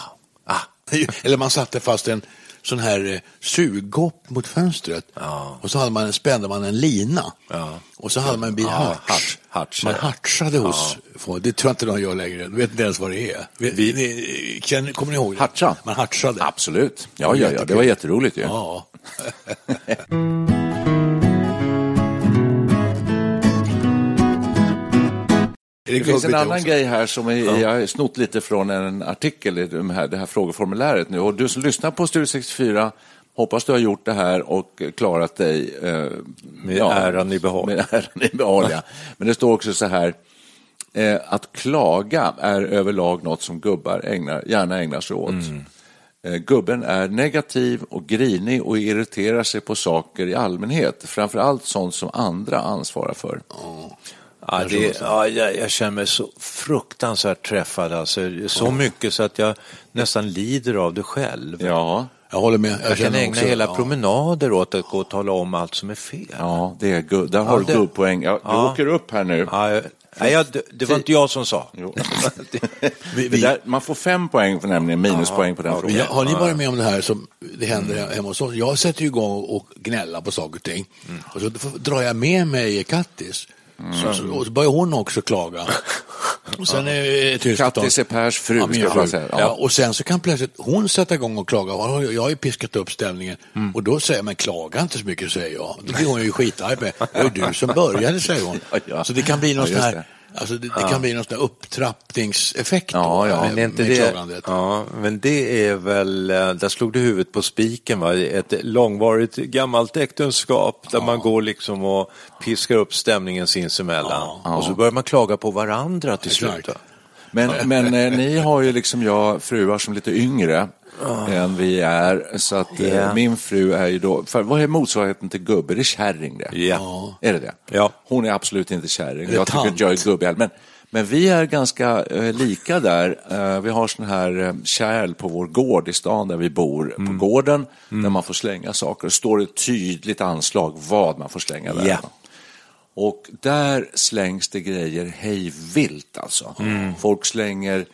Speaker 2: ah.
Speaker 3: Eller man satte fast en sån här eh, suggopp mot fönstret
Speaker 2: Ja.
Speaker 3: och så hade man, spände man en lina
Speaker 2: Ja.
Speaker 3: och så hade man en bit
Speaker 2: Ja,
Speaker 3: harts.
Speaker 2: harts- harts,
Speaker 3: Man
Speaker 2: ja.
Speaker 3: hartsade hos folk. Det tror jag inte de gör längre. Du vet inte ens vad det är. Vi, ni, känner, kommer ni ihåg det?
Speaker 1: Hartsa?
Speaker 3: Man hartsade.
Speaker 1: Absolut. Ja, ja, ja, det var jätteroligt ju.
Speaker 3: Ja.
Speaker 1: Det finns en
Speaker 3: gubbigt
Speaker 1: annan
Speaker 3: också?
Speaker 1: grej här som är, jag har snott lite från en artikel i de här, det här frågeformuläret nu. Och du som lyssnar på Studio 64, hoppas du har gjort det här och klarat dig. eh,
Speaker 2: Med äran i behåll.
Speaker 1: Med äran i behåll, ja. Men det står också så här, eh, att klaga är överlag något som gubbar ägnar, gärna ägnar sig åt.
Speaker 2: Mm.
Speaker 1: Eh, Gubben är negativ och grinig och irriterar sig på saker i allmänhet, framförallt sånt som andra ansvarar för.
Speaker 2: Ja, Ah, det, ja, jag, jag känner mig så fruktansvärt träffad, alltså, så mycket så att jag nästan lider av det själv.
Speaker 1: Ja,
Speaker 3: Jag håller med. Jag,
Speaker 2: Jag kan
Speaker 3: känner
Speaker 2: ägna
Speaker 3: också-
Speaker 2: hela
Speaker 3: ja.
Speaker 2: promenader åt att gå och tala om allt som är fel.
Speaker 1: Ja, det är good. Där har
Speaker 2: Ja,
Speaker 1: du
Speaker 2: det-
Speaker 1: gubbpoäng. Ja, du
Speaker 2: Ja.
Speaker 1: åker upp här nu.
Speaker 2: Ja, jag, nej, jag, det, det var inte jag som sa.
Speaker 1: Jo.
Speaker 2: Det-
Speaker 1: Det där, man får fem poäng, för nämligen minuspoäng på den
Speaker 3: Men
Speaker 1: frågan.
Speaker 3: jag, har ni varit med om det här som det händer hemma hos oss? Jag sätter ju igång och gnälla på saker och ting.
Speaker 1: Mm.
Speaker 3: Och så f- drar jag med mig Kattis. Så, så, och så börjar hon också klaga. Och sen är det
Speaker 1: Kattis är Pers fru,
Speaker 3: Ja,
Speaker 1: ska
Speaker 3: min
Speaker 1: jag
Speaker 3: fru.
Speaker 1: bara säga. Ja.
Speaker 3: Ja, och sen så kan plötsligt hon sätta igång och klaga. Och Jag har ju piskat upp stämningen.
Speaker 1: Mm.
Speaker 3: Och då säger jag, men klaga inte så mycket, säger jag. Då blir hon ju skitarg på mig. Det var ju du som började, säger hon.
Speaker 1: Ja, ja.
Speaker 3: Så det kan bli någon
Speaker 1: Ja,
Speaker 3: sån
Speaker 1: just
Speaker 3: här
Speaker 1: det.
Speaker 3: Alltså det, det kan bli någon sån där upptrappningseffekt
Speaker 1: Ja,
Speaker 3: då,
Speaker 1: ja.
Speaker 3: eh,
Speaker 2: Men är inte
Speaker 3: med
Speaker 2: det,
Speaker 3: klagandet.
Speaker 2: ja, men det är väl, eh, där slog du huvudet på spiken, va? ett långvarigt gammalt äktenskap där man går liksom och piskar upp stämningen sinsemellan. Och så börjar man klaga på varandra till slut.
Speaker 3: Exakt.
Speaker 2: va?
Speaker 1: Men, men eh, ni har ju liksom jag fruar som lite yngre än vi är. Så att eh,
Speaker 2: Ja.
Speaker 1: min fru är ju då, för vad är motsvarigheten till gubbe? Det är kärring det.
Speaker 2: Ja.
Speaker 1: Är det det?
Speaker 2: Ja.
Speaker 1: Hon är absolut inte kärring.
Speaker 3: Eller
Speaker 1: Jag tycker
Speaker 3: tant.
Speaker 1: att jag är gubbe. heller. Men, men vi är ganska eh, lika där. Eh, vi har sån här eh, kärl på vår gård i stan där vi bor,
Speaker 2: Mm.
Speaker 1: på gården, där man får slänga saker. Det står ett tydligt anslag vad man får slänga där.
Speaker 2: Ja.
Speaker 1: Och där slängs det grejer hej vilt alltså.
Speaker 2: Mm.
Speaker 1: Folk slänger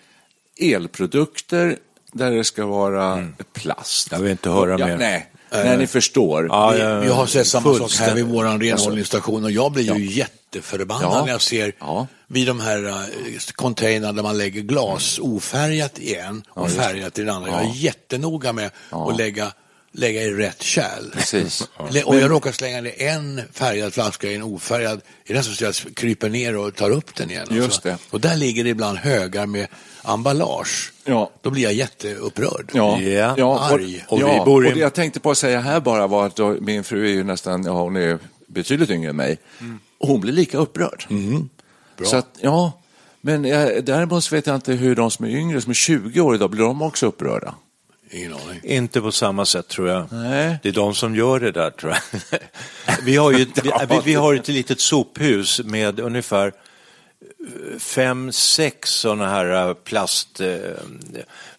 Speaker 1: elprodukter där det ska vara plast.
Speaker 2: Mm. Jag vill inte höra
Speaker 1: ja,
Speaker 2: mer.
Speaker 1: Nej, nej, ni förstår.
Speaker 2: Ja,
Speaker 3: Vi-
Speaker 2: ja,
Speaker 3: Jag har sett samma sak här vid
Speaker 2: fullständigt.
Speaker 3: vår renhållningsstation och jag blir ju jätteförbannad
Speaker 1: Ja.
Speaker 3: när jag ser
Speaker 1: Ja.
Speaker 3: vid de här eh, containrarna där man lägger glas
Speaker 1: Mm.
Speaker 3: ofärgat i en och färgat i den andra. Jag är jättenoga med att lägga, lägga i rätt kärl.
Speaker 1: Precis.
Speaker 3: Lä- Och jag råkar slänga ner en färgad flaska i en ofärgad. Det är nästan så jag kryper ner och tar upp den igen.
Speaker 1: Just
Speaker 3: alltså.
Speaker 1: det.
Speaker 3: Och där ligger det ibland högar med emballage.
Speaker 1: Ja.
Speaker 3: Då blir jag jätteupprörd.
Speaker 1: Ja,
Speaker 2: Ja,
Speaker 1: ja,
Speaker 3: arg.
Speaker 1: Och,
Speaker 2: Och vi
Speaker 1: ja,
Speaker 2: bor i-
Speaker 1: och det jag tänkte på att säga här bara var att då, min fru är ju nästan, ja, hon är ju betydligt yngre än mig. Och hon blir lika upprörd.
Speaker 2: Mm.
Speaker 1: Så att, ja, men eh, däremot så vet jag inte hur de som är yngre, som är 20 år idag, blir de också upprörda?
Speaker 3: Ingen aning.
Speaker 2: Inte på samma sätt tror jag.
Speaker 1: Nej.
Speaker 2: Det är de som gör det där tror jag. Vi har ju ett, vi, vi- vi har ett litet sophus med ungefär eh, fem, sex sådana här eh, plast, eh,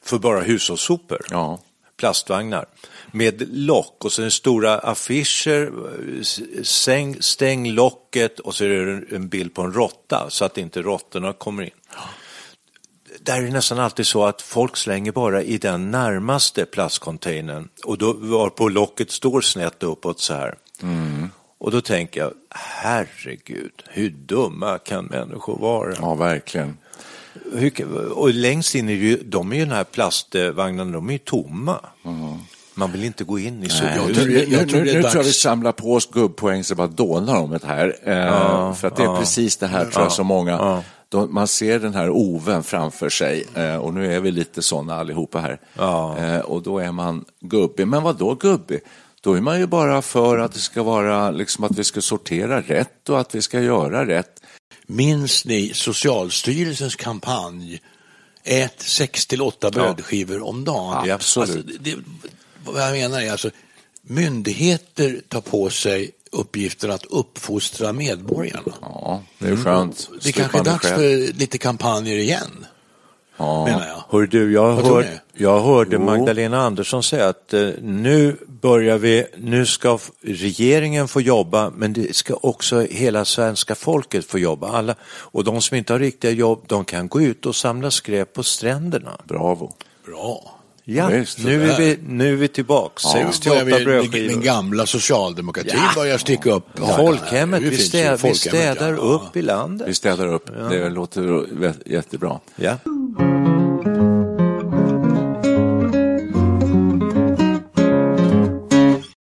Speaker 2: för bara hushållssopor.
Speaker 1: Ja.
Speaker 2: Plastvagnar. Med lock och sen stora affischer, eh, s- säng, stäng locket och så är det en- en bild på en råtta så att inte råttorna kommer in där är det nästan alltid så att folk slänger bara i den närmaste plastcontainern och då var på locket står snett uppåt så här. Och då tänker jag, herregud, hur dumma kan människor vara?
Speaker 1: Ja, verkligen.
Speaker 2: Hur, och längst in är det ju, de är ju den här plastvagnarna, de är ju tomma. Man vill inte gå in i så.
Speaker 3: Mm. Jag
Speaker 1: Nu,
Speaker 3: tror-
Speaker 1: nu,
Speaker 3: jag
Speaker 1: nu,
Speaker 3: tror det är
Speaker 1: nu tror jag
Speaker 3: dags.
Speaker 1: vi samlar på oss gubbpoäng så bara dånar om det här. Eh, för att det är precis det här tror jag som många, de, man ser den här oven framför sig eh, och nu är vi lite sådana allihopa här. Eh, och då är man gubbig. Men vad då gubbig? Då är man ju bara för att det ska vara liksom att vi ska sortera rätt och att vi ska göra rätt.
Speaker 3: Minns ni Socialstyrelsens kampanj Ät 6 till 8 brödskivor om dagen?
Speaker 1: Ja, absolut.
Speaker 3: Alltså, det, vad jag menar är alltså myndigheter tar på sig uppgiften att uppfostra medborgarna.
Speaker 1: Ja, det är skönt.
Speaker 3: Mm. Det
Speaker 1: Slipper
Speaker 3: kanske är
Speaker 1: man
Speaker 3: dags
Speaker 1: själv.
Speaker 3: för lite kampanjer igen, menar jag.
Speaker 2: Hör du, jag,
Speaker 3: Vad tror
Speaker 2: hör,
Speaker 3: ni?
Speaker 2: jag hörde Magdalena Andersson säga att eh, nu börjar vi, nu ska f- regeringen få jobba, men det ska också hela svenska folket få jobba. Alla, och de som inte har riktiga jobb, de kan gå ut och samla skräp på stränderna.
Speaker 1: Bravo.
Speaker 3: Bra.
Speaker 2: Ja,
Speaker 1: Visst,
Speaker 2: nu, är vi, nu är vi tillbaks.
Speaker 3: Just börjar
Speaker 2: 68
Speaker 3: vi- Den
Speaker 2: brödskivor.
Speaker 3: gamla socialdemokratin börjar sticka upp.
Speaker 2: Folkhemmet,
Speaker 3: Det
Speaker 2: vi,
Speaker 3: finns ju
Speaker 2: städ, vi
Speaker 3: folkhemmet,
Speaker 2: städar
Speaker 3: ja.
Speaker 2: upp i
Speaker 1: Vi
Speaker 2: landet.
Speaker 1: städar upp. Det låter vä- jättebra.
Speaker 2: Ja.
Speaker 1: Eh.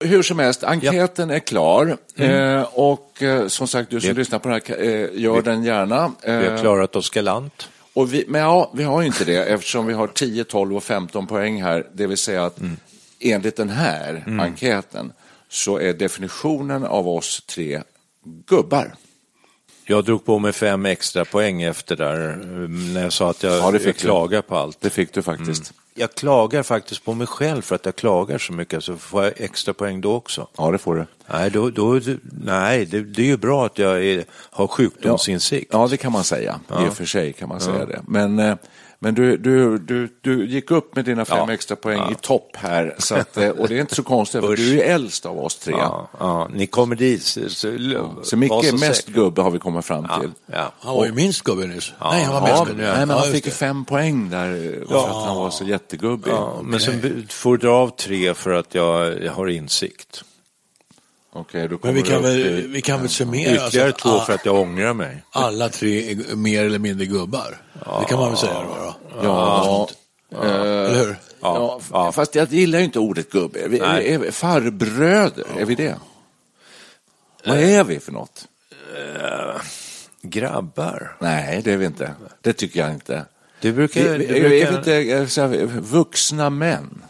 Speaker 1: Hur som helst, enkäten är klar. Eh, och eh, som sagt, du som lyssnar på den här, eh, gör den gärna. Eh,
Speaker 2: Vi har klarat oss galant.
Speaker 1: och vi, men ja, vi har ju inte det eftersom vi har 10, 12 och 15 poäng här. Det vill säga att enligt den här enkäten så är definitionen av oss tre gubbar.
Speaker 2: Jag drog på mig fem extra poäng efter där, eh, när jag sa att jag,
Speaker 1: Ja, det fick
Speaker 2: jag
Speaker 1: du.
Speaker 2: klagar på allt.
Speaker 1: Det fick du faktiskt.
Speaker 2: Jag klagar faktiskt på mig själv för att jag klagar så mycket, så får jag extra poäng då också.
Speaker 1: Ja, det får du.
Speaker 2: Nej, då, då, nej det, det är ju bra att jag är, har sjukdomsinsikt.
Speaker 1: Ja, det kan man säga. I och för sig kan man säga det. Men, eh, men du, du, du, du gick upp med dina fem
Speaker 2: Ja.
Speaker 1: extra poäng i topp här. Så att, eh, och det är inte så konstigt, för du är ju äldst av oss tre.
Speaker 2: Ja, ja, ni kommer dit. Så, så, ja.
Speaker 1: Så Micke är mest gubbe har vi kommit fram till.
Speaker 2: Ja,
Speaker 3: Han var ju minst gubbe nyss.
Speaker 2: Ja,
Speaker 3: Nej, han var
Speaker 2: ja,
Speaker 3: mest
Speaker 2: men-
Speaker 3: gubbe.
Speaker 1: nej, men
Speaker 3: Ja,
Speaker 1: han
Speaker 3: just
Speaker 1: fick ju
Speaker 3: det.
Speaker 1: fem poäng där eh, för att han var så jättegubbig.
Speaker 2: ja, men sen får du dra av tre för att jag, jag har insikt.
Speaker 1: Okej, då kommer
Speaker 3: Men vi
Speaker 1: du
Speaker 3: kan
Speaker 1: upp
Speaker 3: väl,
Speaker 1: i-
Speaker 3: vi kan väl summera.
Speaker 2: Ytterligare
Speaker 3: alltså,
Speaker 2: två
Speaker 3: ah,
Speaker 2: för att jag ångrar mig.
Speaker 3: Alla tre är mer eller mindre gubbar. Det kan man väl säga då. då.
Speaker 1: Ja, Eh,
Speaker 3: Eller hur?
Speaker 1: ja, f- fast jag gillar ju inte ordet gubbe. Vi,
Speaker 2: Nej.
Speaker 1: är vi farbröder, är vi det? Vad är vi för något?
Speaker 2: grabbar.
Speaker 1: Nej, det är vi inte. Det tycker jag inte.
Speaker 2: Du brukar...
Speaker 1: Vi,
Speaker 2: Du
Speaker 1: vi, är vi
Speaker 2: brukar...
Speaker 1: inte eh, så här, vuxna män?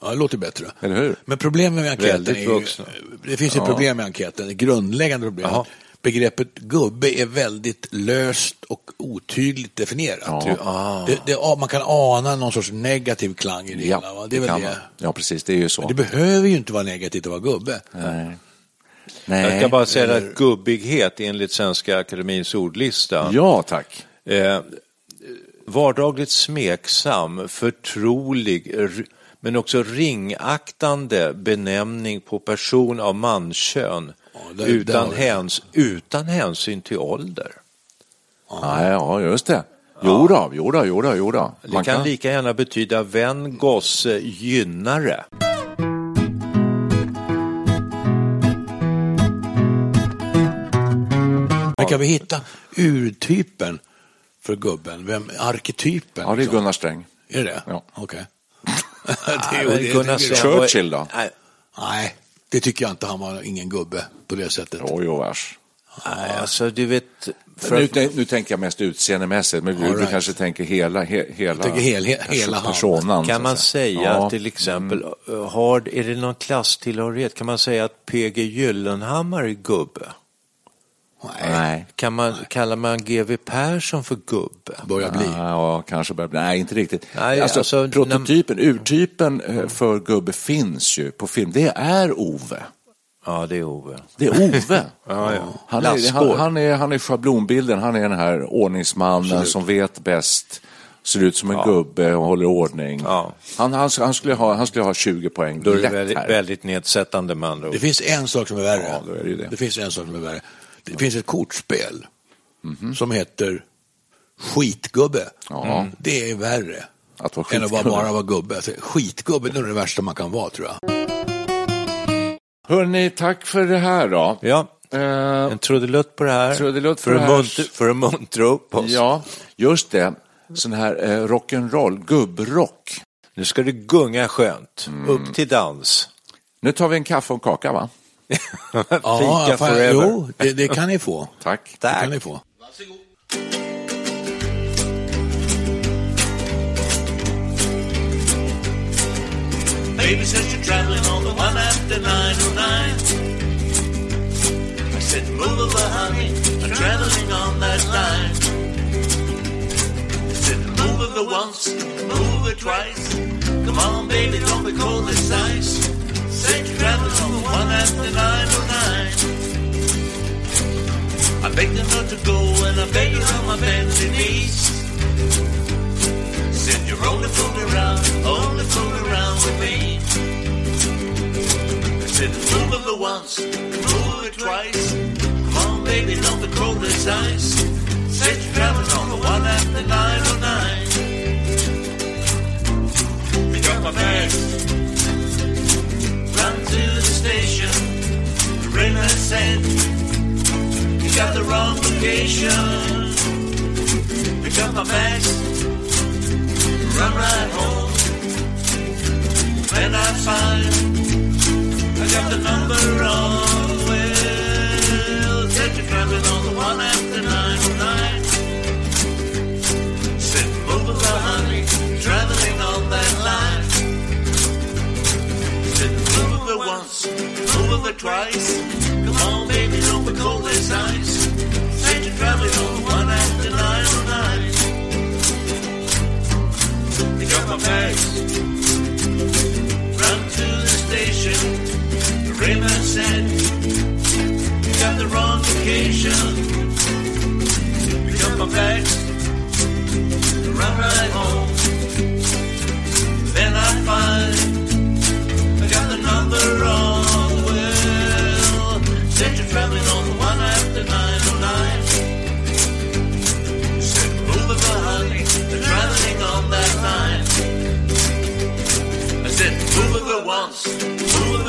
Speaker 3: Ja, det låter bättre.
Speaker 1: Eller hur?
Speaker 3: Men problemet med enkäten
Speaker 2: Väldigt
Speaker 3: är ju,
Speaker 2: vuxna.
Speaker 3: Det finns ett problem med enkäten, ett grundläggande problem.
Speaker 2: Jaha.
Speaker 3: Begreppet gubbe är väldigt löst och otydligt definierat.
Speaker 1: Ja. Ah.
Speaker 3: Det, det, man kan ana någon sorts negativ klang i det hela. Va? Det är väl
Speaker 1: kan
Speaker 3: det.
Speaker 1: man. Ja, precis. Det är ju så.
Speaker 3: Det behöver ju inte vara negativt att vara gubbe.
Speaker 1: Nej.
Speaker 2: Jag
Speaker 1: Nej.
Speaker 2: ska bara säga att gubbighet enligt Svenska Akademins ordlista
Speaker 1: Ja, tack.
Speaker 2: Eh, vardagligt smeksam, förtrolig, r- men också ringaktande benämning på person av manskön
Speaker 3: där-
Speaker 2: utan,
Speaker 3: där har vi
Speaker 2: häns, utan hänsyn till ålder.
Speaker 1: Ja, ja just det. Jo då, jo då, jo då, jo då.
Speaker 2: Det
Speaker 1: Man
Speaker 2: kan, lika gärna betyda vän, gosse, gynnare.
Speaker 3: Men kan vi hitta urtypen för gubben? Vem, arketypen?
Speaker 1: Ja, det är
Speaker 3: liksom?
Speaker 1: Gunnar Sträng.
Speaker 3: Är det
Speaker 1: Ja.
Speaker 3: Okej. det, är ju-
Speaker 2: Men
Speaker 3: det-
Speaker 2: Gunnar
Speaker 3: det-
Speaker 2: Sträng var-
Speaker 1: Churchill då?
Speaker 2: Nej,
Speaker 3: Nej, det tycker jag inte. Han var ingen gubbe på det sättet.
Speaker 1: Jo, jo, vars.
Speaker 2: nej, alltså du vet... För
Speaker 1: Nu,
Speaker 2: att,
Speaker 1: nu, nu tänker jag mest utseendemässigt, men du,
Speaker 3: All
Speaker 1: du
Speaker 3: right.
Speaker 1: kanske tänker hela, he, hela,
Speaker 3: tänker helhe- hela han.
Speaker 1: personan. så
Speaker 2: kan
Speaker 1: att
Speaker 2: man säga
Speaker 1: Ja. mm.
Speaker 2: till exempel, eh, har, är det någon klasstillhörighet? Kan man säga att PG Gyllenhammar är gubbe?
Speaker 1: Nej.
Speaker 2: Kan man, kallar man GW Persson för gubbe?
Speaker 3: Börjar bli.
Speaker 1: Ja, kanske börjar bli. Nej, inte riktigt.
Speaker 2: Nej,
Speaker 1: alltså,
Speaker 2: alltså,
Speaker 1: prototypen, urtypen eh, för gubbe finns ju på film. Det är Ove.
Speaker 2: Ja, det är Ove.
Speaker 1: Det är Ove. han, är,
Speaker 2: Lassgård.
Speaker 1: han, han, är, han är schablonbilden, han är den här ordningsmannen som vet bäst, ser ut som en gubbe och håller ordning.
Speaker 2: Ja.
Speaker 1: Han, han, han, skulle ha, han skulle ha 20 poäng
Speaker 2: Då är det
Speaker 1: lätt
Speaker 2: väldigt,
Speaker 1: här.
Speaker 2: väldigt nedsättande med andra ord.
Speaker 3: Det finns en sak som är värre.
Speaker 1: Ja, då är det ju det.
Speaker 3: finns en sak som är värre. Det finns ett kortspel som heter Skitgubbe. Mm.
Speaker 1: Ja.
Speaker 3: Det är värre
Speaker 1: Att vara
Speaker 3: än att bara,
Speaker 1: skitgubbe.
Speaker 3: bara vara gubbe. Alltså, Skitgubbe det är nog det värsta man kan vara, tror jag.
Speaker 1: Hörni, tack för det här då.
Speaker 2: Ja,
Speaker 1: Eh,
Speaker 2: en trudelutt på det här.
Speaker 1: Trudelutt på
Speaker 2: för,
Speaker 1: det
Speaker 2: att
Speaker 1: här.
Speaker 2: muntra, för att muntra upp oss.
Speaker 1: ja, just det. Sån här eh, rock'n'roll, gubbrock.
Speaker 2: Nu ska det gunga skönt.
Speaker 1: Mm.
Speaker 2: Upp till dans.
Speaker 1: Nu tar vi en kaffe och en kaka, va?
Speaker 2: Fika
Speaker 3: fan,
Speaker 2: forever.
Speaker 3: jo, det, det kan ni få.
Speaker 1: Tack.
Speaker 3: Det kan ni få.
Speaker 6: Baby says you're traveling on the one after 909. I said, move over, honey. I'm traveling on that line. I said, move over once, move over twice. Come on, baby, don't be cold as ice. Said you're traveling on the one after 909. I begged her not to go, and I begged her on my bended knees. Said you're only fooling around, only fooling around with me. I said move over once, move over twice. Come on, baby, don't be cold as ice. Said you're traveling on the one at the 909. Pick up my bags, run to the station. The ringer said you got the wrong location. Pick up my bags run right home. Then I find I got the number wrong. Well, said you're traveling on the one after 909. Said, move along, honey, traveling on that line. Said, move over once, move over twice. Come on, baby, don't be cold as ice. Said you're traveling on the one after 909. Pick up my bags. Run to the station. The Raymond said, You got the wrong location. Pick up my bags. Run right home. Then I find I got the number wrong. Well, said you're traveling on the one after 909. Said move it honey, they're traveling on that line. I said move it once, move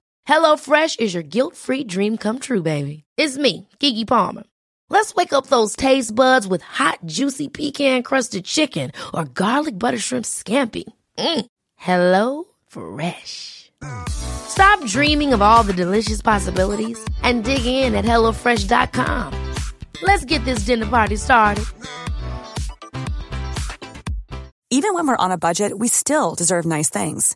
Speaker 4: HelloFresh is your guilt-free dream come true, baby. It's me, Kiki Palmer. Let's wake up those taste buds with hot, juicy pecan-crusted chicken or garlic butter shrimp scampi. Mm. Hello Fresh. Stop dreaming of all the delicious possibilities and dig in at HelloFresh.com. Let's get this dinner party started.
Speaker 7: Even when we're on a budget, we still deserve nice things.